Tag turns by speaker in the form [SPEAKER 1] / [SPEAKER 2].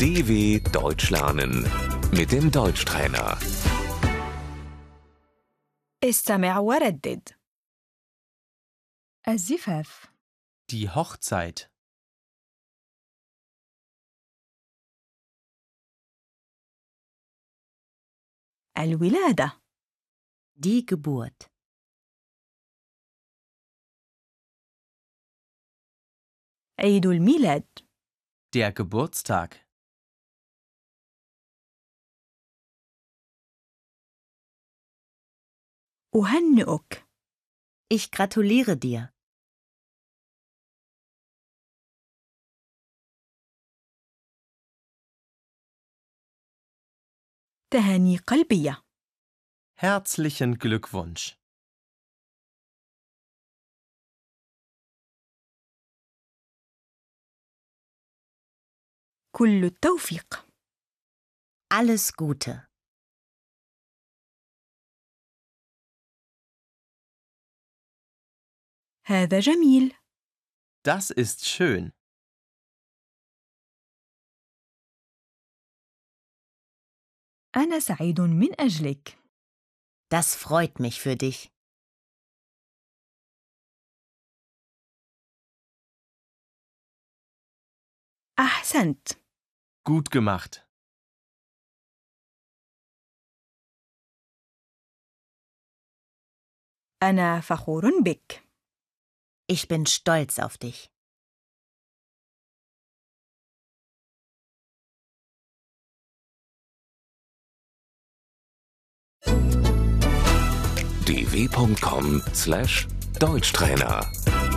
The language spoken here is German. [SPEAKER 1] DW Deutsch lernen mit dem Deutschtrainer.
[SPEAKER 2] استمع وردد الزفاف
[SPEAKER 3] Die Hochzeit.
[SPEAKER 2] الولادة
[SPEAKER 4] Die Geburt.
[SPEAKER 2] عيد الميلاد
[SPEAKER 3] Der Geburtstag.
[SPEAKER 2] أهنئك
[SPEAKER 4] Ich gratuliere dir.
[SPEAKER 2] تهاني قلبية
[SPEAKER 3] Herzlichen Glückwunsch.
[SPEAKER 2] كل التوفيق
[SPEAKER 4] Alles Gute.
[SPEAKER 2] هذا جميل
[SPEAKER 3] Das ist schön.
[SPEAKER 2] أنا سعيد من أجلك
[SPEAKER 4] Das freut mich für dich.
[SPEAKER 2] أحسنت
[SPEAKER 3] Gut gemacht.
[SPEAKER 2] أنا فخور بك
[SPEAKER 4] Ich bin stolz auf dich.
[SPEAKER 1] dw.com/deutschtrainer